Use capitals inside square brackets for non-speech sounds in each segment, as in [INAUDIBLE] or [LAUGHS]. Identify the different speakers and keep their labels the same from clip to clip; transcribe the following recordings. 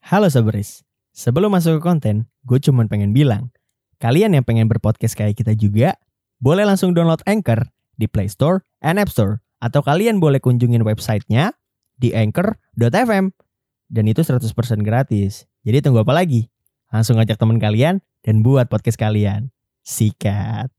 Speaker 1: Halo Soberis, sebelum masuk ke konten, gue cuman pengen bilang, kalian yang pengen berpodcast kayak kita juga, boleh langsung download Anchor di Play Store and App Store, atau kalian boleh kunjungin websitenya di anchor.fm, dan itu 100% gratis. Jadi tunggu apa lagi? Langsung ajak teman kalian dan buat podcast kalian. Sikat.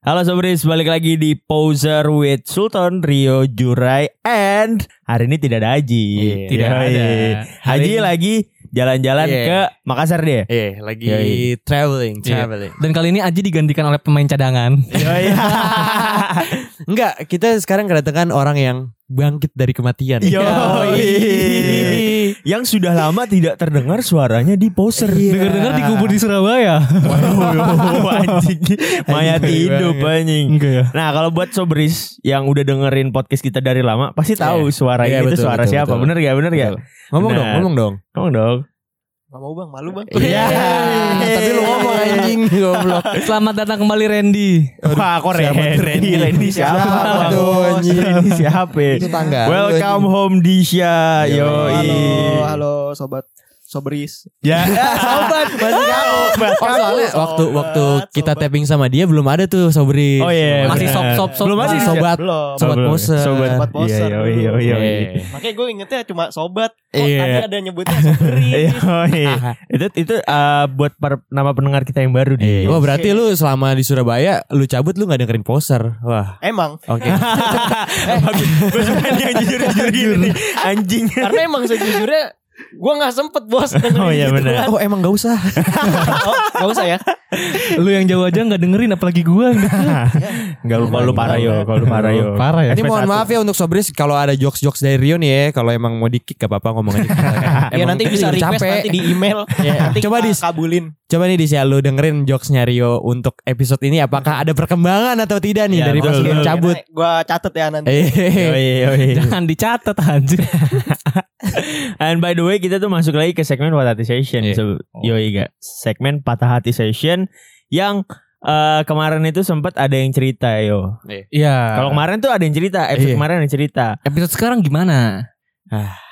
Speaker 1: Halo Sobris, balik lagi di Poser with Sultan, Rio, Jurai, and hari ini tidak ada Haji.
Speaker 2: Iya, tidak
Speaker 1: Yoi.
Speaker 2: ada. Hari
Speaker 1: Haji
Speaker 2: ini-
Speaker 1: lagi jalan-jalan
Speaker 2: Iya.
Speaker 1: ke Makassar dia.
Speaker 2: Iya, lagi
Speaker 1: Yoi.
Speaker 2: traveling,
Speaker 3: Iya.
Speaker 2: traveling.
Speaker 3: Dan kali ini Aji digantikan oleh pemain cadangan.
Speaker 2: [LAUGHS]
Speaker 1: Yoi.
Speaker 2: Oh, iya. Enggak, kita sekarang kedatangan orang yang bangkit dari kematian.
Speaker 1: Yoi. yang sudah lama tidak terdengar suaranya di poser.
Speaker 3: Dengar-dengar dikubur [LAUGHS] di Surabaya. [LAUGHS]
Speaker 1: Waduh, Oh, anjing. Mayat
Speaker 2: Anjing,
Speaker 1: hidup
Speaker 2: banget.
Speaker 1: anjing.
Speaker 3: Enggak ya.
Speaker 1: Nah, kalau buat sobris yang udah dengerin podcast kita dari lama, pasti tahu suara
Speaker 2: Iya,
Speaker 1: itu
Speaker 2: betul,
Speaker 1: suara
Speaker 2: betul,
Speaker 1: siapa.
Speaker 2: betul.
Speaker 1: Bener gak? Bener gak?
Speaker 2: Ngomong
Speaker 1: Benar.
Speaker 2: dong, ngomong dong.
Speaker 1: Ngomong dong.
Speaker 2: Gak mau bang, malu bang.
Speaker 1: Iya.
Speaker 2: Tapi lu ngomong anjing goblok.
Speaker 3: Selamat datang kembali Randy.
Speaker 1: Wah, kok
Speaker 2: siapa
Speaker 1: Randy?
Speaker 2: tuh
Speaker 1: [LAUGHS]
Speaker 2: Randy?
Speaker 1: Randy siapa?
Speaker 2: Siapa
Speaker 1: Bang?
Speaker 2: tuh, anjing?
Speaker 1: Randy siapa?
Speaker 2: tangga.
Speaker 1: Welcome home Disha.
Speaker 2: Yoi.
Speaker 1: Yoi.
Speaker 4: Halo, halo sobat Sobris.
Speaker 1: Ya. [LAUGHS] Sobat, masih
Speaker 2: Oh, soalnya waktu waktu kita tapping sama dia belum ada tuh Sobri.
Speaker 1: Oh iya. bener.
Speaker 3: Masih Iya. sob-sob-sob
Speaker 1: Belum masih
Speaker 3: doang.
Speaker 2: Sobat.
Speaker 4: Belum.
Speaker 2: Sobat
Speaker 1: Belum, belum.
Speaker 2: poser.
Speaker 1: Sobat,
Speaker 4: Sobat poser.
Speaker 1: Iya, yoi, yoi,
Speaker 2: Iya.
Speaker 1: yoi.
Speaker 4: Makanya gue ingetnya cuma sobat. Kok
Speaker 2: Iya.
Speaker 4: tadi ada nyebutnya Sobris.
Speaker 1: Yoi. Iya, oh itu itu eh, buat para nama pendengar kita yang baru
Speaker 2: Iya.
Speaker 1: nih.
Speaker 2: Wah berarti lu selama di Surabaya lu cabut lu nggak dengerin poser. Wah.
Speaker 4: emang.
Speaker 2: Oke.
Speaker 1: Gue suka nih yang jujur-jujur gini nih. Anjing.
Speaker 4: Karena emang sejujurnya gue gak sempet bos dengerin
Speaker 1: Oh, iya,
Speaker 4: gitu
Speaker 1: benar.
Speaker 4: kan.
Speaker 2: Oh emang gak usah.
Speaker 4: Oh, gak usah ya.
Speaker 3: Lu yang jauh aja nggak dengerin apalagi [LAUGHS] gua.
Speaker 1: Enggak lupa lu parah yo, kalau lu parah yo.
Speaker 3: Parah ya.
Speaker 2: Ini mohon
Speaker 1: SP1.
Speaker 2: maaf ya untuk Sobris kalau ada jokes-jokes dari Rio nih ya, kalau emang mau di-kick Iya, gak apa-apa ngomong aja. [LAUGHS]
Speaker 4: Ya nanti bisa request nanti di email.
Speaker 2: Iya.
Speaker 4: Nanti
Speaker 2: Coba
Speaker 4: kita
Speaker 2: di
Speaker 4: kabulin.
Speaker 2: coba nih Disya lu dengerin jokesnya Rio untuk episode ini apakah ada perkembangan atau tidak nih
Speaker 1: Iya,
Speaker 2: dari
Speaker 1: betul,
Speaker 2: pas dia
Speaker 1: betul.
Speaker 2: cabut.
Speaker 4: Gue catet ya nanti.
Speaker 3: Iya,
Speaker 2: Eh,
Speaker 1: Yoi, yoi.
Speaker 3: Jangan dicatat anjir.
Speaker 1: And by the way kita tuh masuk lagi ke segmen patah hati session.
Speaker 2: Iya.
Speaker 1: So, yoi gak? Segmen patah hati session yang eh, kemarin itu sempat ada yang cerita yo.
Speaker 3: Iya.
Speaker 1: Kalau kemarin tuh ada yang cerita, episode
Speaker 2: Iya.
Speaker 1: kemarin ada yang cerita.
Speaker 3: episode sekarang gimana?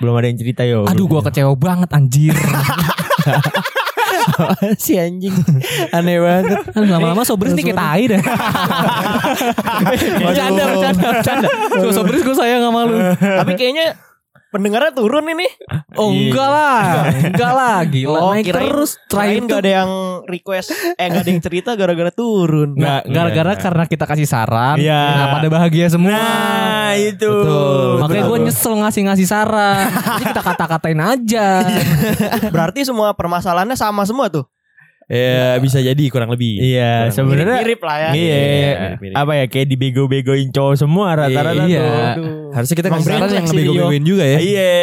Speaker 1: Belum ada yang cerita yo.
Speaker 3: Aduh gua kecewa banget [LAUGHS] anjir.
Speaker 2: [LAUGHS] si anjing. Aneh banget.
Speaker 3: Aduh, lama-lama sobris nih kayak tai [LAUGHS] deh. Bercanda, bercanda, bercanda. So, sobris gua sayang sama lu.
Speaker 4: Tapi kayaknya pendengarnya turun ini.
Speaker 3: Oh
Speaker 1: Iya.
Speaker 3: enggak lah. Enggak lah gila.
Speaker 4: Oh,
Speaker 3: Naik
Speaker 4: kirain-
Speaker 3: terus
Speaker 4: Lain
Speaker 3: terakhir tuh
Speaker 4: gak ada yang request. Eh gak ada yang cerita gara-gara turun.
Speaker 1: Nggak,
Speaker 3: Nah, gara-gara
Speaker 1: nggak.
Speaker 3: karena kita kasih saran,
Speaker 1: Iya.
Speaker 3: nah pada bahagia semua.
Speaker 1: Nah, itu.
Speaker 2: Betul.
Speaker 3: Makanya
Speaker 2: betul.
Speaker 3: gue nyesel ngasih-ngasih [LAUGHS] saran. Jadi kita kata-katain aja.
Speaker 4: Nah, Berarti semua permasalahannya sama semua tuh.
Speaker 2: Ya bisa jadi kurang lebih.
Speaker 1: Iya, sebenarnya
Speaker 4: Mirip lah ya.
Speaker 1: Iya,
Speaker 2: Iya, mirip-mirip.
Speaker 1: apa ya kayak dibego-begoin cowok semua rata-rata
Speaker 3: Iya.
Speaker 1: tuh.
Speaker 4: Aduh.
Speaker 2: Harusnya kita
Speaker 4: Emang
Speaker 2: kasih saran
Speaker 4: brengsek
Speaker 2: yang
Speaker 4: sih,
Speaker 2: ngebego-begoin juga ya.
Speaker 1: Iya.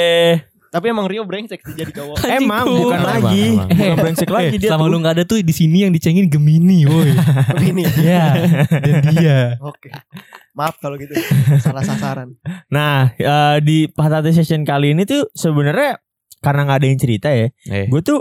Speaker 4: Tapi emang Rio brengsek sih jadi cowok.
Speaker 3: Anjing
Speaker 1: Emang Eh,
Speaker 3: tuh.
Speaker 1: bukan
Speaker 2: Emang,
Speaker 1: lagi,
Speaker 2: emang.
Speaker 1: bukan brengsek lagi dia.
Speaker 3: Eh, Selama
Speaker 1: tuh.
Speaker 3: lu gak ada tuh di sini yang dicengin Gemini, woi.
Speaker 1: [LAUGHS]
Speaker 4: Ini.
Speaker 3: [LAUGHS] Iya, dan dia.
Speaker 4: Oke. Maaf kalau gitu. Salah sasaran.
Speaker 1: Nah, eh, di Patati Session kali ini tuh sebenarnya karena nggak ada yang cerita ya.
Speaker 2: Eh,
Speaker 1: Gue tuh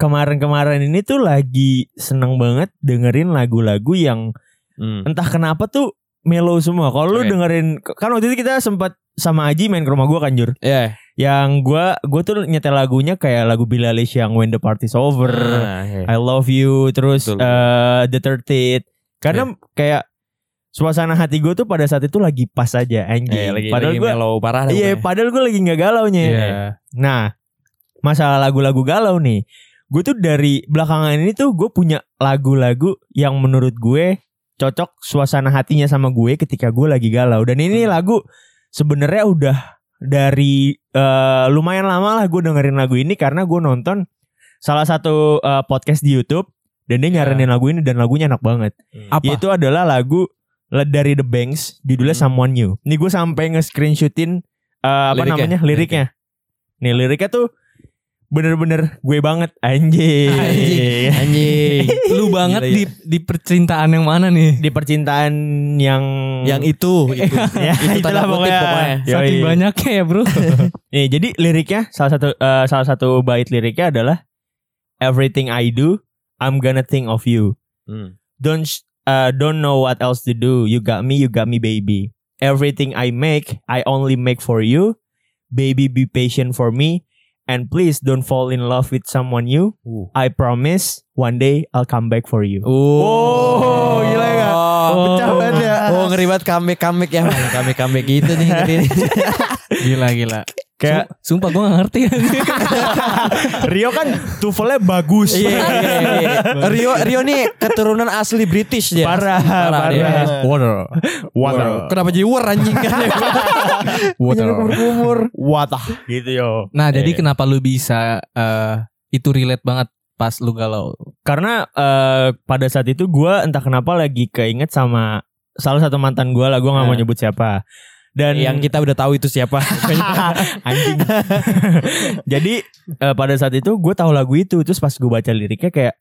Speaker 1: kemarin-kemarin ini tuh lagi seneng banget dengerin lagu-lagu yang
Speaker 2: hmm.
Speaker 1: entah kenapa tuh mellow semua. Kalau lu
Speaker 2: Oke.
Speaker 1: dengerin kan waktu itu kita sempat sama Aji main ke rumah gue kan Jur.
Speaker 2: Iya.
Speaker 1: Yang gue gue tuh nyetel lagunya kayak lagu Billie Eilish yang When the Party's Over.
Speaker 2: Ah, iya.
Speaker 1: I love you terus
Speaker 2: Betul. Iya.
Speaker 1: eh, the 30 karena kayak suasana hati gue tuh pada saat itu lagi pas aja anjing
Speaker 2: Eh, lagi,
Speaker 1: padahal
Speaker 2: lagi
Speaker 1: gue
Speaker 2: mellow parah dah
Speaker 1: iya
Speaker 2: pokoknya.
Speaker 1: padahal gue lagi nggak galau nya
Speaker 2: Iya.
Speaker 1: nah masalah lagu-lagu galau nih gue tuh dari belakangan ini tuh gue punya lagu-lagu yang menurut gue cocok suasana hatinya sama gue ketika gue lagi galau dan ini lagu sebenarnya udah dari eh, lumayan lama lah gue dengerin lagu ini karena gue nonton salah satu eh, podcast di YouTube dan dia nyaranin lagu ini dan lagunya enak banget.
Speaker 2: Iya.
Speaker 3: Apa?
Speaker 1: Itu adalah lagu le- dari The Banks judulnya
Speaker 2: Hmm.
Speaker 1: Someone New. Ini gue sampai nge-screenshotin eh, apa
Speaker 2: Liriknya?
Speaker 1: namanya liriknya. Nih liriknya tuh bener-bener gue banget anjing.
Speaker 2: Anjing. Anjing.
Speaker 3: Lu banget
Speaker 2: Gila,
Speaker 3: di di percintaan yang mana nih?
Speaker 1: Di percintaan yang
Speaker 2: yang itu Uh, itu.
Speaker 1: ya,
Speaker 2: itu tanda kutip pokoknya.
Speaker 3: Saking
Speaker 1: Yoi.
Speaker 3: banyaknya ya, [LAUGHS] Bro.
Speaker 1: Nih, jadi liriknya salah satu eh, salah satu bait liriknya adalah everything I do I'm gonna think of you.
Speaker 2: Hmm.
Speaker 1: Don't sh- uh, don't know what else to do. You got me, you got me, baby. Everything I make, I only make for you. Baby, be patient for me. And please don't fall in love with someone new. I promise one day I'll come back for you. Wow, gila nggak?
Speaker 2: Oh,
Speaker 1: Pecah banget ya.
Speaker 2: oh ngeri banget comeback-comeback ya. Comeback-comeback gitu nih. ngeri
Speaker 1: [LAUGHS]
Speaker 2: nih.
Speaker 3: Gila gila. Ya. Iya,
Speaker 1: Kayak
Speaker 3: Sumpah gue gak ngerti.
Speaker 1: Rio [LAUGHS] kan tuvelnya bagus.
Speaker 2: Iya, iya, iya.
Speaker 3: [LAUGHS]
Speaker 2: Rio Rio nih keturunan asli British
Speaker 3: Iya.
Speaker 2: dia.
Speaker 1: Parah, parah.
Speaker 2: dia. Water.
Speaker 1: Water.
Speaker 2: Kenapa jadi war
Speaker 3: [LAUGHS]
Speaker 2: anjing kan? Water.
Speaker 1: Umur. Watah gitu yo.
Speaker 3: Nah jadi
Speaker 1: Iya.
Speaker 3: kenapa lu bisa eh, itu relate banget pas lu galau?
Speaker 1: Karena eh, pada saat itu gue entah kenapa lagi keinget sama salah satu mantan gue lah. Gue nggak mau
Speaker 2: Eh.
Speaker 1: nyebut siapa. Dan
Speaker 2: Yang kita udah tahu itu siapa.
Speaker 1: [LAUGHS] anjing. [LAUGHS] Jadi eh, pada saat itu gue tahu lagu itu terus pas gue baca liriknya kayak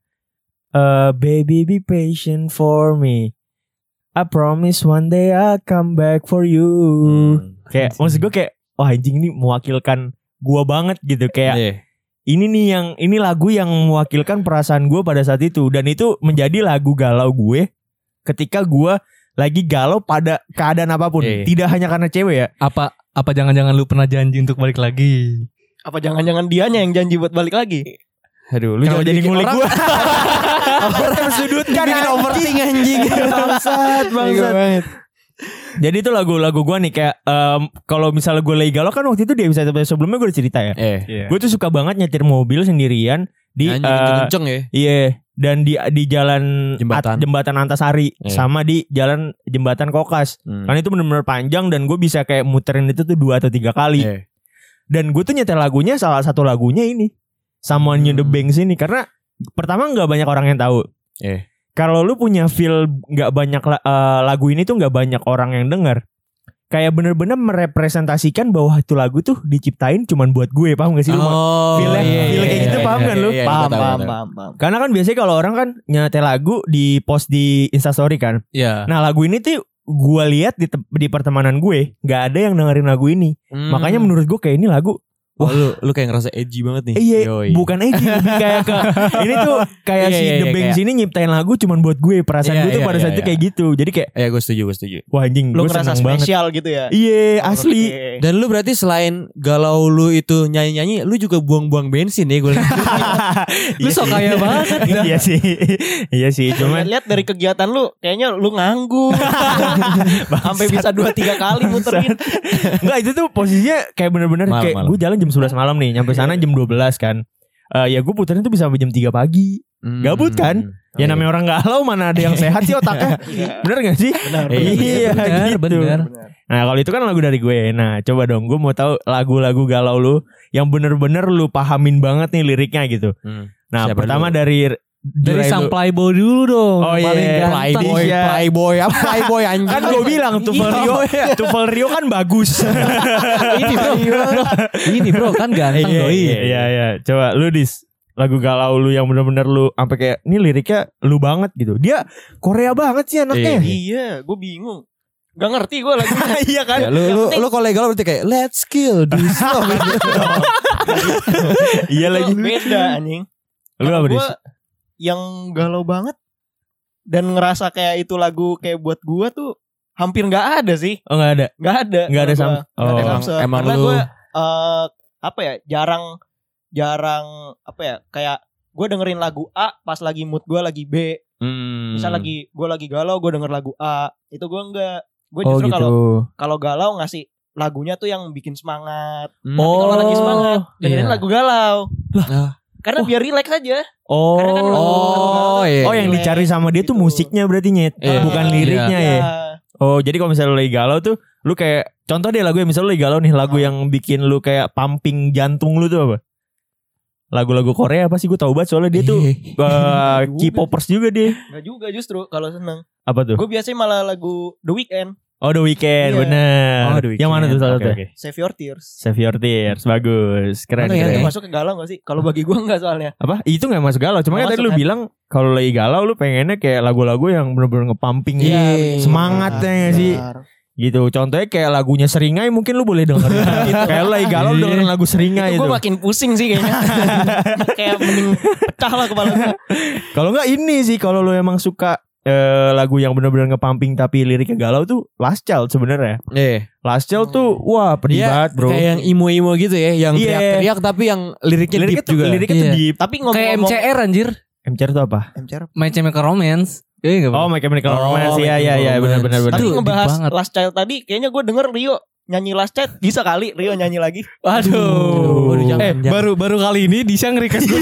Speaker 1: eh, baby be patient for me. I promise one day I'll come back for you.
Speaker 2: Hmm.
Speaker 1: Kayak maksud gue kayak wah anjing ini mewakilkan gue banget gitu kayak
Speaker 2: Iya.
Speaker 1: ini nih yang ini lagu yang mewakilkan perasaan gue pada saat itu dan itu menjadi lagu galau gue ketika gue lagi galau pada keadaan apapun
Speaker 2: Iya, iya.
Speaker 1: tidak hanya karena cewek ya
Speaker 3: [LAUGHS] Apa apa jangan-jangan lu pernah janji untuk balik lagi?
Speaker 4: Apa jangan-jangan dianya yang janji buat balik lagi?
Speaker 1: aduh lu
Speaker 2: Kenapa
Speaker 1: jangan jadi
Speaker 2: bikin
Speaker 1: ngulik
Speaker 2: orang- [LAUGHS]
Speaker 1: gue
Speaker 2: Orang sudutkan bikin overthink anjing. [LAUGHS]
Speaker 1: bangsat bangsat jadi itu lagu-lagu gue nih kayak em, kalau misalnya gue lagi galau kan waktu itu dia bisa sebelumnya gue udah cerita ya
Speaker 2: Eh.
Speaker 1: gue tuh suka banget nyetir mobil sendirian di
Speaker 2: Anjing
Speaker 1: eh,
Speaker 2: kenceng ya.
Speaker 1: Iya, dan di di jalan
Speaker 2: Jembatan.
Speaker 1: At- jembatan Antasari
Speaker 2: Iya.
Speaker 1: sama di jalan jembatan Kokas.
Speaker 2: Hmm.
Speaker 1: Karena itu benar-benar panjang dan gue bisa kayak muterin itu tuh dua atau tiga kali.
Speaker 2: Iya.
Speaker 1: Dan gue tuh nyetel lagunya salah satu lagunya ini sama New The
Speaker 2: Hmm.
Speaker 1: Banks ini karena pertama nggak banyak orang yang tahu.
Speaker 2: Iya.
Speaker 1: Kalau lu punya feel nggak banyak la- eh, lagu ini tuh nggak banyak orang yang dengar. Kayak bener-bener merepresentasikan bahwa itu lagu tuh diciptain cuman buat gue, paham gak sih lu?
Speaker 2: Oh,
Speaker 1: Feel-nya-
Speaker 2: iya,
Speaker 1: feel-nya
Speaker 2: iya,
Speaker 1: kayak gitu,
Speaker 2: iya,
Speaker 1: paham
Speaker 2: iya,
Speaker 1: kan
Speaker 2: iya,
Speaker 1: lu?
Speaker 2: iya,
Speaker 1: Paham,
Speaker 2: gua tahu,
Speaker 4: Paham,
Speaker 2: gua tahu.
Speaker 4: paham, paham.
Speaker 1: Karena kan biasanya kalau orang kan nyetel lagu di post di instastory kan.
Speaker 2: Iya.
Speaker 3: Ya.
Speaker 1: Nah lagu ini tuh gue lihat di, te- di pertemanan gue nggak ada yang dengerin lagu ini.
Speaker 2: Hmm.
Speaker 1: Makanya menurut gue kayak ini lagu
Speaker 2: Wah, lu, lu kayak ngerasa edgy banget nih.
Speaker 1: eh, iya
Speaker 2: Yoi.
Speaker 1: bukan edgy lebih kayak ke, ini tuh kayak
Speaker 2: Iya,
Speaker 1: si
Speaker 2: iya,
Speaker 1: The
Speaker 2: iya,
Speaker 1: Bangs ini nyiptain lagu cuman buat gue. Perasaan
Speaker 2: Iya,
Speaker 1: gue tuh
Speaker 2: iya,
Speaker 1: pada
Speaker 2: iya,
Speaker 1: saat itu
Speaker 2: iya.
Speaker 1: kayak gitu. Jadi kayak
Speaker 2: Ya gue setuju, gue setuju.
Speaker 1: wah anjing
Speaker 4: Lu
Speaker 1: gue
Speaker 4: ngerasa
Speaker 1: seneng banget.
Speaker 4: spesial gitu ya?
Speaker 1: Iya asli.
Speaker 4: Oke.
Speaker 2: Dan lu berarti selain galau lu itu nyanyi-nyanyi, lu juga buang-buang bensin ya gue.
Speaker 3: Lu sok kaya banget dah.
Speaker 1: Iya sih. Iya sih.
Speaker 4: [LAUGHS] Cuman
Speaker 1: Cuman
Speaker 4: lihat dari kegiatan lu kayaknya lu
Speaker 1: [LAUGHS]
Speaker 4: nganggur. Sampai bisa 2 3 kali muterin.
Speaker 1: Enggak itu tuh posisinya kayak bener-bener
Speaker 2: Malam,
Speaker 1: kayak
Speaker 2: malam.
Speaker 1: gue jalan jam 11 malam nih. Nyampe sana jam 12 kan. Eh ya gue puterin tuh bisa sampai jam 3 pagi. [LAUGHS] Gabut kan?
Speaker 2: Hmm. Oh, iya.
Speaker 1: Ya namanya orang galau mana ada yang sehat sih otaknya.
Speaker 4: Iya.
Speaker 1: Bener gak sih?
Speaker 4: Benar.
Speaker 1: Iya,
Speaker 3: benar,
Speaker 1: gitu.
Speaker 3: benar.
Speaker 1: Nah kalau itu kan lagu dari gue. Nah coba dong gue mau tahu lagu-lagu galau lu yang bener-bener lu pahamin banget nih liriknya gitu.
Speaker 2: Hmm.
Speaker 1: Nah
Speaker 2: Siapa
Speaker 1: pertama
Speaker 2: dulu?
Speaker 1: dari
Speaker 3: Dari
Speaker 1: Jurai lu.
Speaker 3: sang playboy dulu dong.
Speaker 1: Oh, iya,
Speaker 3: Paling ganteng.
Speaker 2: Playboy,
Speaker 1: Iya.
Speaker 2: playboy, apa
Speaker 1: [LAUGHS]
Speaker 2: playboy anjing?
Speaker 1: kan gue bilang Tufel Rio, Tufel Rio kan bagus.
Speaker 3: ini bro, ini bro kan ganteng
Speaker 1: Iya,
Speaker 3: doi.
Speaker 1: Iya iya iya. Coba lu dis lagu galau lu yang bener-bener lu sampai kayak ini liriknya lu banget gitu. Dia Korea banget sih anaknya.
Speaker 4: Iya, gue bingung. Gak ngerti gue lagi.
Speaker 1: [LAUGHS] Iya kan?
Speaker 2: Ya, lu lu lu kalau lagi galau berarti kayak let's
Speaker 1: [LAUGHS]
Speaker 2: kill this love.
Speaker 1: Iya lagi.
Speaker 4: Beda anjing.
Speaker 1: [LAUGHS] Lu apa dis?
Speaker 4: Gue yang galau banget dan ngerasa kayak itu lagu kayak buat gue tuh hampir nggak ada sih,
Speaker 1: Oh enggak ada.
Speaker 4: nggak ada.
Speaker 1: Nggak ada
Speaker 4: Gua-
Speaker 1: sama-
Speaker 4: nggak ada
Speaker 1: Oh.
Speaker 4: sama sekali.
Speaker 2: Emang- emang
Speaker 4: Karena
Speaker 2: lu-
Speaker 4: gue apa ya jarang jarang apa ya kayak gue dengerin lagu A pas lagi mood gue lagi B,
Speaker 1: Hmm.
Speaker 2: Hmm.
Speaker 4: misal lagi gue lagi galau gue denger lagu A itu gue enggak gue
Speaker 1: Oh
Speaker 4: justru kalau
Speaker 1: gitu.
Speaker 4: kalau galau ngasih lagunya tuh yang bikin semangat.
Speaker 2: Oh,
Speaker 4: Tapi kalau lagi semangat dengerin
Speaker 3: iya.
Speaker 4: lagu galau. Nah,
Speaker 2: Ah.
Speaker 4: Karena biar relax aja.
Speaker 1: Oh.
Speaker 4: Karena kan lagu-
Speaker 2: oh, iya.
Speaker 1: Oh yang dicari sama dia tuh
Speaker 4: Gitu.
Speaker 1: musiknya berarti nyet
Speaker 2: Iya.
Speaker 1: Bukan
Speaker 4: Iya.
Speaker 1: liriknya ya Oh jadi kalau misalnya lu lagi galau tuh Lu kayak Contoh deh lagu yang misalnya lu lagi galau nih Lagu
Speaker 4: Oh.
Speaker 1: yang bikin lu kayak pumping jantung lu tuh apa Lagu-lagu Korea apa sih gue tau banget Soalnya dia tuh
Speaker 2: Iya.
Speaker 1: [LAUGHS] eh, K-popers juga dia
Speaker 4: Enggak juga justru kalau seneng.
Speaker 1: Apa tuh
Speaker 4: Gue biasanya malah lagu The Weeknd,
Speaker 1: Oh The Weeknd
Speaker 4: Iya.
Speaker 1: bener
Speaker 2: Oh, The
Speaker 1: Yang mana tuh
Speaker 2: Weeknd.
Speaker 1: salah
Speaker 2: Oke,
Speaker 1: satu
Speaker 2: oke.
Speaker 4: Save Your Tears.
Speaker 1: Save Your Tears Bagus Keren
Speaker 2: Mana ya,
Speaker 1: keren.
Speaker 4: Itu masuk ke galau gak sih? Kalau bagi gue enggak soalnya.
Speaker 1: Apa itu gak masuk galau Cuma kan
Speaker 4: Nggak
Speaker 1: tadi lu
Speaker 4: masuk, kan?
Speaker 1: bilang Kalau lagi galau lu pengennya kayak lagu-lagu yang bener-bener ngepumping
Speaker 2: Iya.
Speaker 1: Semangatnya nggak Iya sih
Speaker 4: Benar.
Speaker 1: gitu contohnya kayak lagunya seringai mungkin lu boleh
Speaker 2: [LAUGHS]
Speaker 1: denger Gitu. kayak lu lagi galau lu dengerin lagu seringai
Speaker 4: Itu
Speaker 1: Iya, itu,
Speaker 4: gue makin pusing sih kayaknya. Kayak mending pecah lah kepala gue.
Speaker 1: kalau nggak ini sih kalau lu emang suka eh, lagu yang bener-bener ngepumping tapi liriknya galau tuh Last Child sebenarnya.
Speaker 2: Iya.
Speaker 1: Last Child tuh wah pedih
Speaker 2: Iya,
Speaker 1: banget, Bro.
Speaker 2: Kayak yang imo-imo gitu ya, yang
Speaker 1: Iya.
Speaker 2: teriak-teriak tapi yang liriknya
Speaker 1: Liriknya
Speaker 2: deep
Speaker 1: tuh,
Speaker 2: juga.
Speaker 1: liriknya tuh
Speaker 3: Iya.
Speaker 1: deep.
Speaker 4: Tapi
Speaker 3: Kayak
Speaker 4: ngomong-ngomong
Speaker 3: MCR anjir.
Speaker 1: MCR tuh apa?
Speaker 4: MCR.
Speaker 3: My Chemical Romance. Iya enggak?
Speaker 1: Oh, My Chemical
Speaker 2: Oh,
Speaker 1: Romance.
Speaker 2: My
Speaker 1: Iya, iya,
Speaker 2: Chemical
Speaker 1: iya,
Speaker 2: Romance.
Speaker 1: benar-benar benar.
Speaker 4: Tapi
Speaker 3: Aduh, deep
Speaker 4: ngebahas
Speaker 3: banget.
Speaker 4: Last Child tadi kayaknya gue denger Rio nyanyi Last Child bisa kali Rio nyanyi lagi.
Speaker 2: Aduh. Aduh, jangan,
Speaker 1: eh,
Speaker 2: jangan.
Speaker 1: baru baru kali ini Disha nge-request [LAUGHS] gue.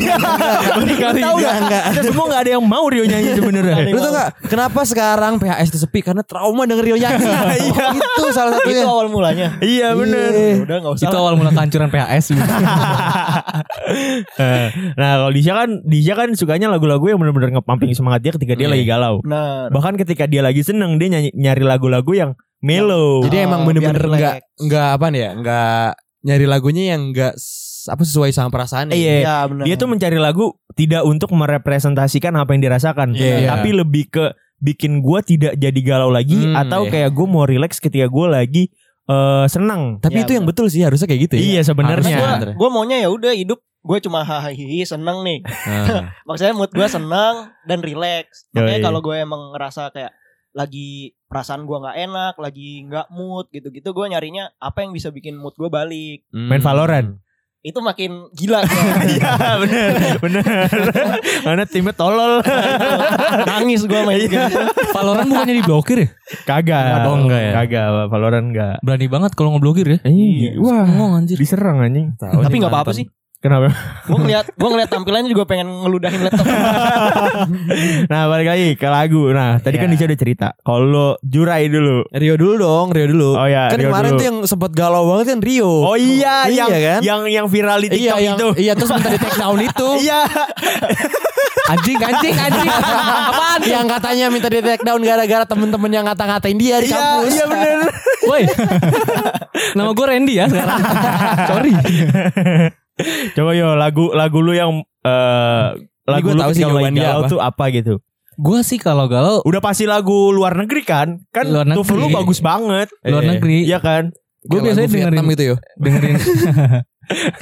Speaker 1: baru kali
Speaker 2: Tahu
Speaker 1: ini.
Speaker 2: nggak? Nggak.
Speaker 1: Kita semua gak ada yang mau Rio nyanyi sebenarnya.
Speaker 2: Lu tau gak kenapa sekarang PHS itu sepi karena trauma denger Rio nyanyi.
Speaker 1: [LAUGHS] Iya.
Speaker 2: itu salah
Speaker 4: Itu
Speaker 2: satunya.
Speaker 4: awal mulanya.
Speaker 1: Iya bener.
Speaker 2: Iya.
Speaker 4: Ya Udah nggak usah.
Speaker 3: Itu
Speaker 4: lah.
Speaker 3: awal mula kehancuran PHS.
Speaker 1: [LAUGHS] Eh, nah kalau Disha kan Disha kan sukanya lagu-lagu yang bener-bener ngepumping semangat dia ketika dia
Speaker 2: Iya.
Speaker 1: lagi galau.
Speaker 4: Benar.
Speaker 1: Bahkan ketika dia lagi seneng dia nyanyi, nyari lagu-lagu yang mellow.
Speaker 2: Jadi
Speaker 4: Ah,
Speaker 2: emang
Speaker 4: biar
Speaker 2: bener-bener
Speaker 4: relax.
Speaker 2: nggak nggak apa nih ya nggak nyari lagunya yang nggak s- apa sesuai sama perasaan.
Speaker 1: Iya.
Speaker 4: Iya benar.
Speaker 1: dia tuh mencari lagu tidak untuk merepresentasikan apa yang dirasakan,
Speaker 2: Iya.
Speaker 1: tapi lebih ke bikin gua tidak jadi galau lagi
Speaker 2: Hmm,
Speaker 1: atau
Speaker 2: iya.
Speaker 1: kayak gua mau relax ketika gua lagi eh, senang.
Speaker 2: Tapi
Speaker 4: Iya,
Speaker 2: itu yang betul sih harusnya kayak gitu ya.
Speaker 1: Iya
Speaker 4: Karena
Speaker 1: sebenarnya.
Speaker 2: Harusnya.
Speaker 4: gua,
Speaker 2: Andre.
Speaker 4: gua maunya ya udah hidup gue cuma hahaha seneng nih
Speaker 2: Nah.
Speaker 4: maksudnya mood gue seneng dan relax
Speaker 1: Yoi.
Speaker 4: makanya kalau gue emang ngerasa kayak lagi perasaan gue nggak enak lagi nggak mood gitu-gitu gue nyarinya apa yang bisa bikin mood gue balik
Speaker 1: Main
Speaker 2: Hmm.
Speaker 1: Valorant.
Speaker 4: itu makin gila [LAUGHS] gua.
Speaker 1: Iya bener bener. Karena timnya tolol.
Speaker 4: nangis gue main game
Speaker 3: Valorant bukannya diblokir ya?
Speaker 1: Kagak.
Speaker 3: Oh, enggak ya?
Speaker 1: Kagak Valorant enggak.
Speaker 3: Berani banget kalau ngeblokir ya.
Speaker 1: Iya. Wah,
Speaker 3: Ngomong anjir.
Speaker 1: diserang anjing.
Speaker 2: Tahu
Speaker 4: tapi
Speaker 2: nih
Speaker 4: nggak apa-apa
Speaker 2: mantan.
Speaker 4: sih
Speaker 1: Kenapa? [LAUGHS]
Speaker 4: gue ngeliat gue ngeliat tampilannya juga pengen ngeludahin laptop
Speaker 1: nah, balik lagi ke lagu. Nah, tadi kan
Speaker 2: Iya.
Speaker 1: Dice udah cerita. Kalau Jurai dulu.
Speaker 2: Rio dulu dong, Rio dulu.
Speaker 1: Oh ya,
Speaker 2: kan
Speaker 1: Rio
Speaker 2: kemarin
Speaker 1: dulu.
Speaker 2: tuh yang sempat galau banget kan Rio.
Speaker 1: Oh iya,
Speaker 2: Iya
Speaker 1: yang
Speaker 2: kan?
Speaker 1: yang yang viral di
Speaker 2: iya
Speaker 1: TikTok
Speaker 2: yang
Speaker 1: itu.
Speaker 2: iya terus minta di take
Speaker 1: [LAUGHS]
Speaker 2: down itu. Kan?
Speaker 1: Iya.
Speaker 3: Anjing anjing anjing. Apaan?
Speaker 2: yang katanya minta di take down gara-gara temen-temen yang ngata-ngatain dia di
Speaker 1: Iya,
Speaker 2: kampus.
Speaker 1: iya
Speaker 2: [LAUGHS]
Speaker 1: bener.
Speaker 3: Woi. Nama gue Randy ya sekarang. Sorry.
Speaker 1: Coba yo lagu lagu lu yang eh
Speaker 2: Ini
Speaker 1: lagu
Speaker 2: gua
Speaker 1: lu
Speaker 2: tahu sih
Speaker 1: ketika lu lagi
Speaker 2: jawabannya
Speaker 1: galau
Speaker 2: apa.
Speaker 1: tuh apa gitu.
Speaker 3: Gue sih kalau galau
Speaker 1: Udah pasti lagu luar negeri kan? Kan
Speaker 3: Luar negeri.
Speaker 1: tuh lu bagus banget.
Speaker 3: luar
Speaker 2: Iya.
Speaker 3: negeri
Speaker 1: Iya kan?
Speaker 3: Gue
Speaker 2: Kayak
Speaker 3: biasanya
Speaker 2: lagu
Speaker 3: dengerin
Speaker 2: Vietnam gitu yo. [LAUGHS]
Speaker 3: dengerin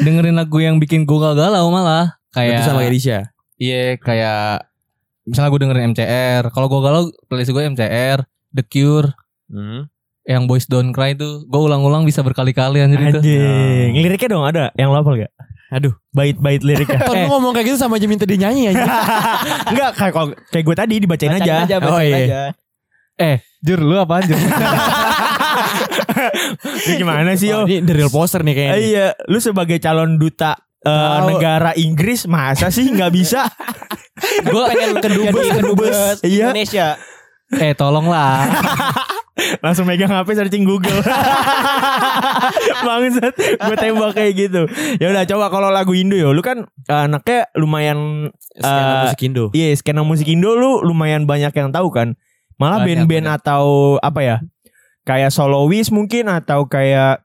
Speaker 3: dengerin lagu yang bikin gue gak galau malah
Speaker 2: Itu sama kayak
Speaker 3: kayak
Speaker 2: Disha.
Speaker 3: iya kayak misalnya gue dengerin MCR kalau gue galau playlist gue MCR The Cure
Speaker 2: Hmm.
Speaker 3: yang Boys Don't Cry itu gue ulang-ulang bisa berkali-kali anjir itu
Speaker 1: Anjing. Liriknya dong ada yang lo hafal gak?
Speaker 2: Aduh.
Speaker 1: Bait-bait
Speaker 2: [LAUGHS]
Speaker 1: liriknya. Eh,
Speaker 2: Ton
Speaker 1: Iya.
Speaker 2: lu ngomong kayak gitu sama aja minta dia nyanyi aja.
Speaker 1: Enggak kayak kalau- kayak gue tadi dibacain
Speaker 4: Bacain
Speaker 1: aja. Oh, iya.
Speaker 4: aja, bacain aja.
Speaker 3: Jur lu apa anjir
Speaker 1: Ini gimana sih yo?
Speaker 2: Oh, ini the real poster nih kayaknya.
Speaker 1: Eh, Iya, lu sebagai calon duta eh,
Speaker 2: Tahu.
Speaker 1: negara Inggris masa sih nggak bisa?
Speaker 3: gue
Speaker 4: [LAUGHS]
Speaker 3: pengen
Speaker 4: Jadi kedubes
Speaker 1: Iya.
Speaker 4: Indonesia
Speaker 3: [LAUGHS] eh tolong lah
Speaker 1: Langsung megang HP searching
Speaker 3: [LAUGHS]
Speaker 1: Google. Bangsat, gue tembak kayak gitu. Ya udah coba kalau lagu Indo yo, lu kan eh, anaknya lumayan
Speaker 2: Skena
Speaker 1: Eh,
Speaker 2: musik Indo.
Speaker 1: iya skena musik Indo lu lumayan banyak yang tahu kan. Malah
Speaker 3: Banyak,
Speaker 1: band-band
Speaker 3: banyak.
Speaker 1: atau apa ya? Kayak solois mungkin atau kayak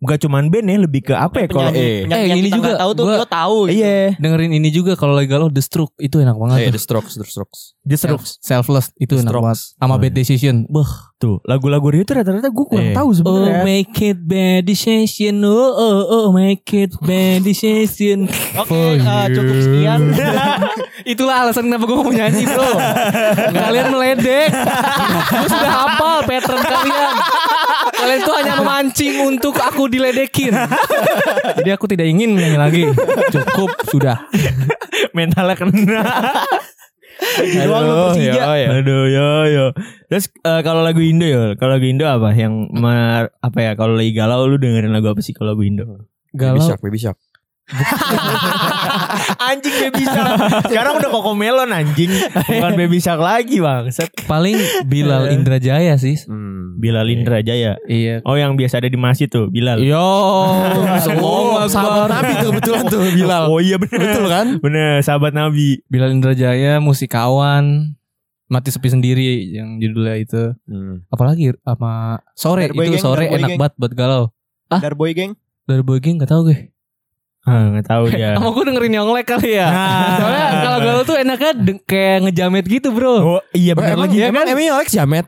Speaker 1: Gak cuman band ya lebih ke apa ya kalau
Speaker 4: penyanyi,
Speaker 2: eh.
Speaker 4: penyanyi
Speaker 3: Eh,
Speaker 4: yang
Speaker 3: ini
Speaker 4: kita
Speaker 3: juga,
Speaker 4: nggak tahu tuh
Speaker 3: gua-
Speaker 4: lo tahu gitu.
Speaker 1: Iya,
Speaker 3: dengerin ini juga kalau lagi galau The Stroke itu enak
Speaker 2: Eh,
Speaker 3: banget tuh.
Speaker 2: the Strokes, The Strokes.
Speaker 1: The
Speaker 3: Self-
Speaker 1: Strokes.
Speaker 3: Selfless itu enak
Speaker 2: Strokes.
Speaker 3: banget sama
Speaker 2: iya.
Speaker 3: Bad Decision Beuh.
Speaker 1: Tuh, lagu-lagu Rio tuh rata-rata gue kurang
Speaker 2: Eh.
Speaker 1: tahu
Speaker 3: Oh
Speaker 1: sebenarnya.
Speaker 3: make it bad decision Oh oh oh make it bad decision
Speaker 4: Oke, eh, cukup sekian.
Speaker 3: Itulah alasan kenapa gue mau nyanyi bro Kalian meledek Gue sudah hafal pattern kalian Kalian tuh hanya memancing untuk aku diledekin Jadi aku tidak ingin nyanyi lagi Cukup sudah
Speaker 1: mentalnya kena. Gitu doang lu Persija.
Speaker 2: ya, ya.
Speaker 1: Aduh, yo yo. Terus eh, kalau lagu Indo ya, kalau lagu Indo apa yang mer- apa ya kalau lagi galau lu dengerin lagu apa sih kalau lagu Indo?
Speaker 2: Baby
Speaker 3: Galau
Speaker 2: Shark, Baby Shark.
Speaker 1: anjing baby [LAUGHS] shark. Sekarang udah koko melon anjing, bukan baby shark lagi, Bangsat.
Speaker 3: Paling Bilal Indrajaya sih
Speaker 2: Hmm.
Speaker 1: Bila Lindra Jaya.
Speaker 3: Eh. Iya
Speaker 1: Oh, yang biasa ada di masjid tuh, Bilal.
Speaker 3: [LAUGHS] Yo
Speaker 2: Oh, sahabat Nabi tuh betulan tuh Bilal.
Speaker 1: Oh iya [LAUGHS] bener
Speaker 2: Betul kan?
Speaker 1: Bener, sahabat Nabi.
Speaker 3: Bilal Indrajaya Musikawan Mati sepi sendiri yang judulnya itu
Speaker 2: hmm.
Speaker 3: apalagi sama sore
Speaker 4: Darboy
Speaker 3: itu
Speaker 4: Gang,
Speaker 3: sore
Speaker 4: Darboy
Speaker 3: enak
Speaker 4: Gang.
Speaker 3: banget buat galau
Speaker 4: Darboy geng.
Speaker 3: dari boy gang gak tau gue
Speaker 1: Ah, nggak tahu [LAUGHS] dia.
Speaker 3: [LAUGHS] sama gue dengerin yang lek kali ya
Speaker 1: Nah.
Speaker 3: soalnya kalau galau tuh enaknya deng- kayak ngejamet gitu bro
Speaker 1: Oh iya
Speaker 2: Emang,
Speaker 1: bener
Speaker 2: emang,
Speaker 1: lagi.
Speaker 2: emang, emang ya, Alex jamet?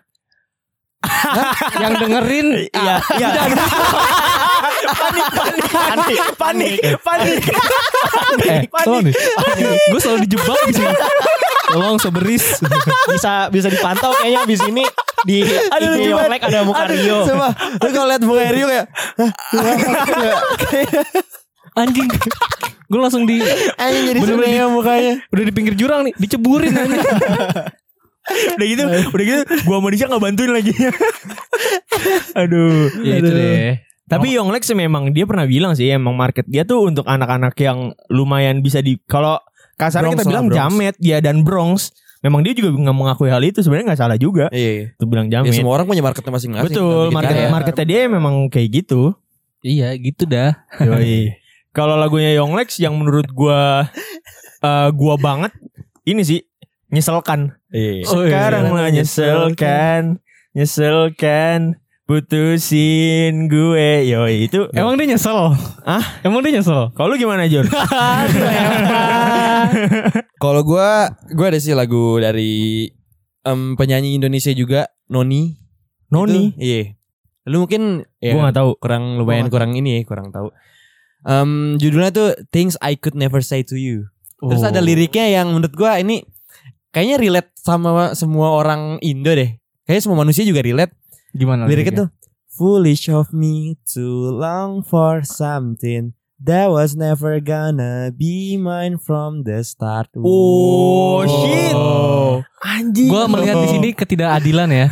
Speaker 1: Oh.
Speaker 3: yang dengerin ah,
Speaker 1: Iya, iya. panik, panik, panik, panik, panik.
Speaker 3: Eh,
Speaker 1: Panik.
Speaker 3: tolong nih. Gue selalu dijebak di sini. Tolong soberis.
Speaker 4: bisa bisa dipantau kayaknya abis ini di
Speaker 1: Aduh,
Speaker 4: di
Speaker 1: lucu banget.
Speaker 4: Yorlek ada muka Rio.
Speaker 2: [LAUGHS] Coba Lu kalau liat bunga Rio kayak
Speaker 3: Anjing. Gue langsung di
Speaker 2: Anjing jadi
Speaker 3: Bener-bener
Speaker 2: sebenarnya mukanya
Speaker 3: udah di pinggir jurang nih, diceburin anjing.
Speaker 1: udah gitu, udah gitu gua sama Disha nggak bantuin lagi. [LAUGHS] Aduh.
Speaker 3: Ya itu deh.
Speaker 1: Tapi Yonglex sih memang dia pernah bilang sih emang market dia tuh untuk anak-anak yang lumayan bisa di kalau kasarnya
Speaker 2: Bronx
Speaker 1: kita
Speaker 2: lah,
Speaker 1: bilang
Speaker 2: Bronx.
Speaker 1: jamet ya dan Bronx. Memang dia juga nggak mengakui hal itu sebenarnya nggak salah juga.
Speaker 2: Iya
Speaker 1: Tuh bilang jamet.
Speaker 2: Ya semua orang punya marketnya masing-masing
Speaker 1: Betul,
Speaker 2: Tapi kita
Speaker 1: market
Speaker 2: ya.
Speaker 1: marketnya dia memang kayak gitu.
Speaker 3: Iya, gitu dah.
Speaker 1: Yoi. Kalau lagunya Yonglex yang menurut gua eh, gua banget ini sih nyeselkan.
Speaker 2: Iya.
Speaker 3: Oh, iya.
Speaker 1: Sekarang lah nyeselkan, nyeselkan putusin gue. Yoi itu
Speaker 3: Emang dia nyesel?
Speaker 1: Hah?
Speaker 3: Emang dia nyesel?
Speaker 1: kalau lu gimana Jor?
Speaker 3: [LAUGHS]
Speaker 2: Kalau gue Gue ada sih lagu dari em, Penyanyi Indonesia juga Noni
Speaker 1: Noni.
Speaker 2: Itu, Iya Lu mungkin ya,
Speaker 1: Gue nggak tahu.
Speaker 2: Kurang lumayan kurang ini ya Kurang tahu Em, Judulnya tuh Things I Could Never Say To You Terus
Speaker 1: Oh.
Speaker 2: ada liriknya yang menurut gua ini kayaknya relate sama semua orang Indo deh. Kayaknya semua manusia juga relate.
Speaker 1: Nah,
Speaker 3: Gimana ya?
Speaker 2: Liriknya tuh Foolish of me to long for something that was never gonna be mine from the start.
Speaker 1: Oh, shit.
Speaker 3: Oh.
Speaker 1: Anjing.
Speaker 3: Gue melihat di [LAUGHS] sini ketidakadilan ya.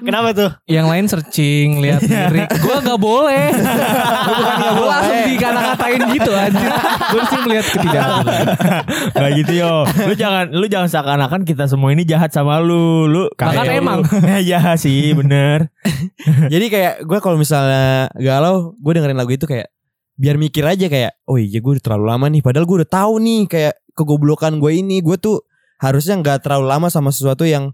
Speaker 4: Kenapa tuh?
Speaker 3: Yang lain searching, lihat
Speaker 1: Iya.
Speaker 3: lirik. Gue nggak
Speaker 1: [LAUGHS]
Speaker 3: boleh. Gue bukan nggak boleh. Langsung dikata-katain gitu aja. Gue sih melihat ketidakadilan.
Speaker 1: Gak gitu yo. Lu jangan lu jangan seakan-akan kita semua ini jahat sama lu. Lu
Speaker 3: Bahkan
Speaker 1: kaya lu.
Speaker 3: emang.
Speaker 1: [LAUGHS] Iya sih, bener.
Speaker 2: Jadi kayak gua kalau misalnya galau, gue dengerin lagu itu kayak biar mikir aja kayak, oh iya gue udah terlalu lama nih. Padahal gue udah tahu nih kayak kegoblokan gue ini. Gue tuh harusnya nggak terlalu lama sama sesuatu yang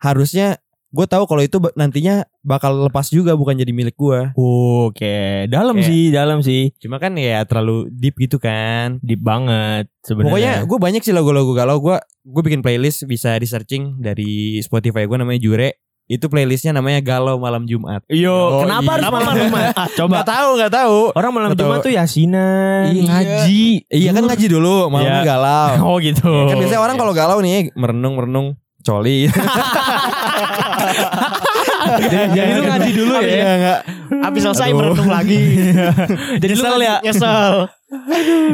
Speaker 2: harusnya gue tahu kalau itu ba- nantinya bakal lepas juga bukan jadi milik gue.
Speaker 1: Oke, dalam
Speaker 2: Kayak-
Speaker 1: sih, dalam sih.
Speaker 2: Cuma kan ya terlalu deep gitu kan.
Speaker 1: Deep banget
Speaker 2: Pokoknya
Speaker 1: sebenarnya.
Speaker 2: gue banyak sih lagu-lagu galau. Gue gue bikin playlist bisa di searching dari Spotify gue namanya Jure. Itu playlistnya namanya Galau Malam Jumat.
Speaker 1: yo,
Speaker 2: Oh,
Speaker 1: kenapa
Speaker 2: iya.
Speaker 1: harus malam Jumat? Ah, Coba.
Speaker 2: Oh, Nggak tahu, nggak tahu.
Speaker 1: Orang malam
Speaker 2: Nggak tahu.
Speaker 1: Jumat tuh yasinan,
Speaker 2: Iya.
Speaker 1: ngaji.
Speaker 2: Iya kan ngaji dulu, malamnya
Speaker 1: Iya.
Speaker 2: [LAUGHS] galau.
Speaker 1: Oh gitu.
Speaker 2: Kan biasanya orang kalau galau nih merenung merenung [LAUGHS] coli.
Speaker 1: Iya,
Speaker 3: Jadi lu ngaji dulu ya.
Speaker 2: Iya, nggak.
Speaker 4: Abis selesai
Speaker 2: Aduh.
Speaker 4: merenung lagi.
Speaker 1: jadi
Speaker 4: Lu
Speaker 1: sel Iya. ya.
Speaker 4: kan Nyesel.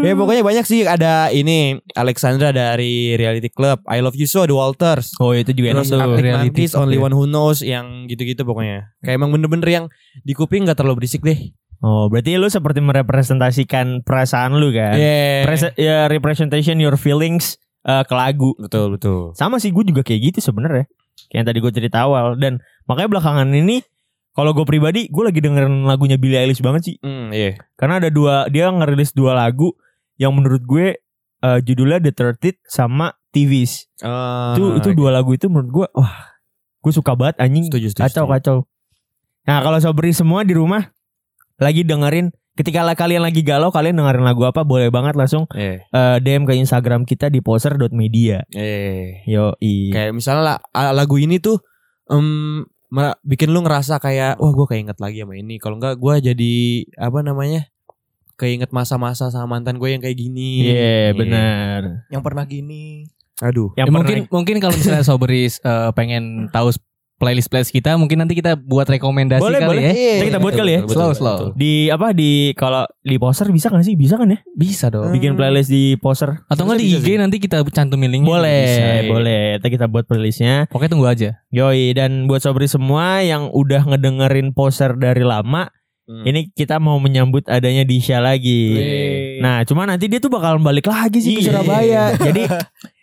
Speaker 2: Ya pokoknya banyak sih ada ini Alexandra dari Reality Club, I Love You So The Walters.
Speaker 1: Oh, itu juga enak
Speaker 2: Terus
Speaker 1: tuh.
Speaker 2: Arctic
Speaker 3: Reality
Speaker 2: Monkeys,
Speaker 3: Club
Speaker 2: Only
Speaker 3: ya.
Speaker 2: One Who Knows yang gitu-gitu pokoknya. Kayak emang bener-bener yang di kuping nggak terlalu berisik deh.
Speaker 1: Oh, berarti lu seperti merepresentasikan perasaan lu kan?
Speaker 2: Iya.
Speaker 1: Prese- ya, representation your feelings eh, ke lagu.
Speaker 2: Betul betul.
Speaker 1: Sama sih gue juga kayak gitu sebenarnya. Kayak yang tadi gue cerita awal dan makanya belakangan ini kalau gue pribadi gue lagi dengerin lagunya Billie Eilish banget sih.
Speaker 2: Hmm, iya.
Speaker 1: Karena ada dua dia ngerilis dua lagu yang menurut gue eh, judulnya The Thirteenth sama TVs.
Speaker 4: Ah,
Speaker 1: itu itu
Speaker 4: iya.
Speaker 1: dua lagu itu menurut gue wah gue suka banget anjing.
Speaker 2: Ah, setuju, setuju,
Speaker 1: Kacau
Speaker 2: setuju.
Speaker 1: kacau. Nah kalau sobri semua di rumah lagi dengerin ketika la- kalian lagi galau kalian dengerin lagu apa boleh banget langsung
Speaker 2: Iya.
Speaker 1: eh, DM ke Instagram kita di poser.media.
Speaker 2: Iya.
Speaker 1: Yo
Speaker 2: Kayak misalnya la- a- lagu ini tuh em, mer- bikin lu ngerasa kayak wah gue keinget lagi sama ini. Kalau enggak gue jadi apa namanya? Keinget masa-masa sama mantan gue yang kayak gini.
Speaker 1: Iya
Speaker 2: Iya.
Speaker 1: benar.
Speaker 4: Yang pernah gini.
Speaker 2: Aduh.
Speaker 1: Yang
Speaker 3: Ya, mungkin mungkin kalau misalnya Soberis eh, pengen tahu playlist playlist kita, mungkin nanti kita buat rekomendasi
Speaker 1: Boleh,
Speaker 3: kali
Speaker 1: boleh.
Speaker 3: ya.
Speaker 4: Iya.
Speaker 1: Nanti kita buat kali ya.
Speaker 3: Slow, slow.
Speaker 1: di apa di kalau di poster bisa kan sih? Bisa kan ya?
Speaker 3: Bisa dong.
Speaker 1: Bikin playlist di poster.
Speaker 3: Atau enggak di
Speaker 2: Bisa,
Speaker 3: IG
Speaker 2: bisa.
Speaker 3: nanti kita cantumin
Speaker 2: Iya,
Speaker 3: linknya.
Speaker 1: Boleh,
Speaker 3: Bisa.
Speaker 1: boleh. Nanti kita buat playlistnya.
Speaker 3: Pokoknya tunggu aja.
Speaker 1: Yoi dan buat sobri semua yang udah ngedengerin poster dari lama,
Speaker 2: Hmm.
Speaker 1: ini kita mau menyambut adanya Disha lagi. Nah, cuma nanti dia tuh bakalan balik lagi sih ke
Speaker 2: Iya.
Speaker 1: Surabaya. Jadi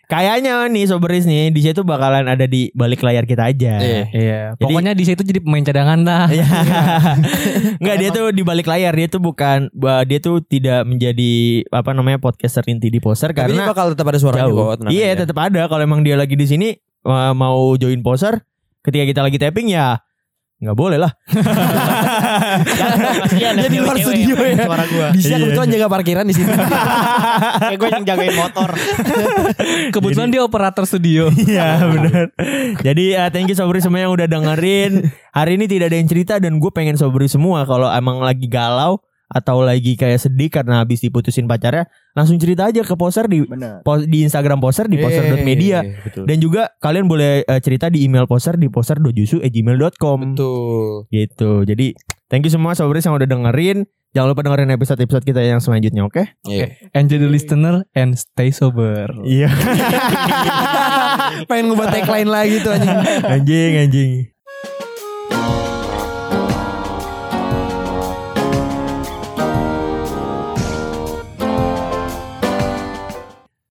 Speaker 1: kayaknya nih sobris nih, Disha tuh bakalan ada di balik layar kita aja.
Speaker 2: Iya.
Speaker 1: [LAUGHS]
Speaker 3: Iya.
Speaker 1: Jadi-
Speaker 3: Pokoknya di situ jadi pemain cadangan lah.
Speaker 1: Ya. Enggak dia tuh di balik layar dia tuh bukan bah, dia tuh tidak menjadi apa namanya podcaster inti di poster
Speaker 2: Tapi ini
Speaker 1: karena
Speaker 2: bakal tetap ada suaranya
Speaker 1: jauh.
Speaker 2: kok. tenang
Speaker 1: Iya,
Speaker 2: aja.
Speaker 1: tetap ada kalau emang dia lagi di sini eh, mau join poster ketika kita lagi tapping ya nggak boleh lah.
Speaker 2: [LAUGHS]
Speaker 4: Kasihan
Speaker 2: Dia di luar studio ya.
Speaker 4: Suara gue.
Speaker 2: Bisa
Speaker 1: Iya,
Speaker 2: kebetulan jaga parkiran di sini.
Speaker 4: [LAUGHS] Kayak gue yang jagain motor.
Speaker 3: [LAUGHS] Kebetulan dia operator [LAUGHS] studio.
Speaker 1: Iya benar. Jadi eh, thank you Sobri semua yang udah dengerin. Hari ini tidak ada yang cerita dan gue pengen Sobri semua kalau emang lagi galau atau lagi kayak sedih karena habis diputusin pacarnya, langsung cerita aja ke poser di
Speaker 4: Bener.
Speaker 1: po- di Instagram poser di poser.media
Speaker 2: Eh, Betul.
Speaker 1: dan juga kalian boleh eh, cerita di email poser di poser.jusu@gmail.com
Speaker 2: Betul.
Speaker 1: gitu. Jadi thank you semua Sobri yang udah dengerin. Jangan lupa dengerin episode-episode kita yang selanjutnya, oke?
Speaker 2: Iya.
Speaker 3: Enjoy the listener and stay sober.
Speaker 1: Iya.
Speaker 2: Pengen ngebuat tagline lagi tuh anjing.
Speaker 1: [LAUGHS] anjing, anjing.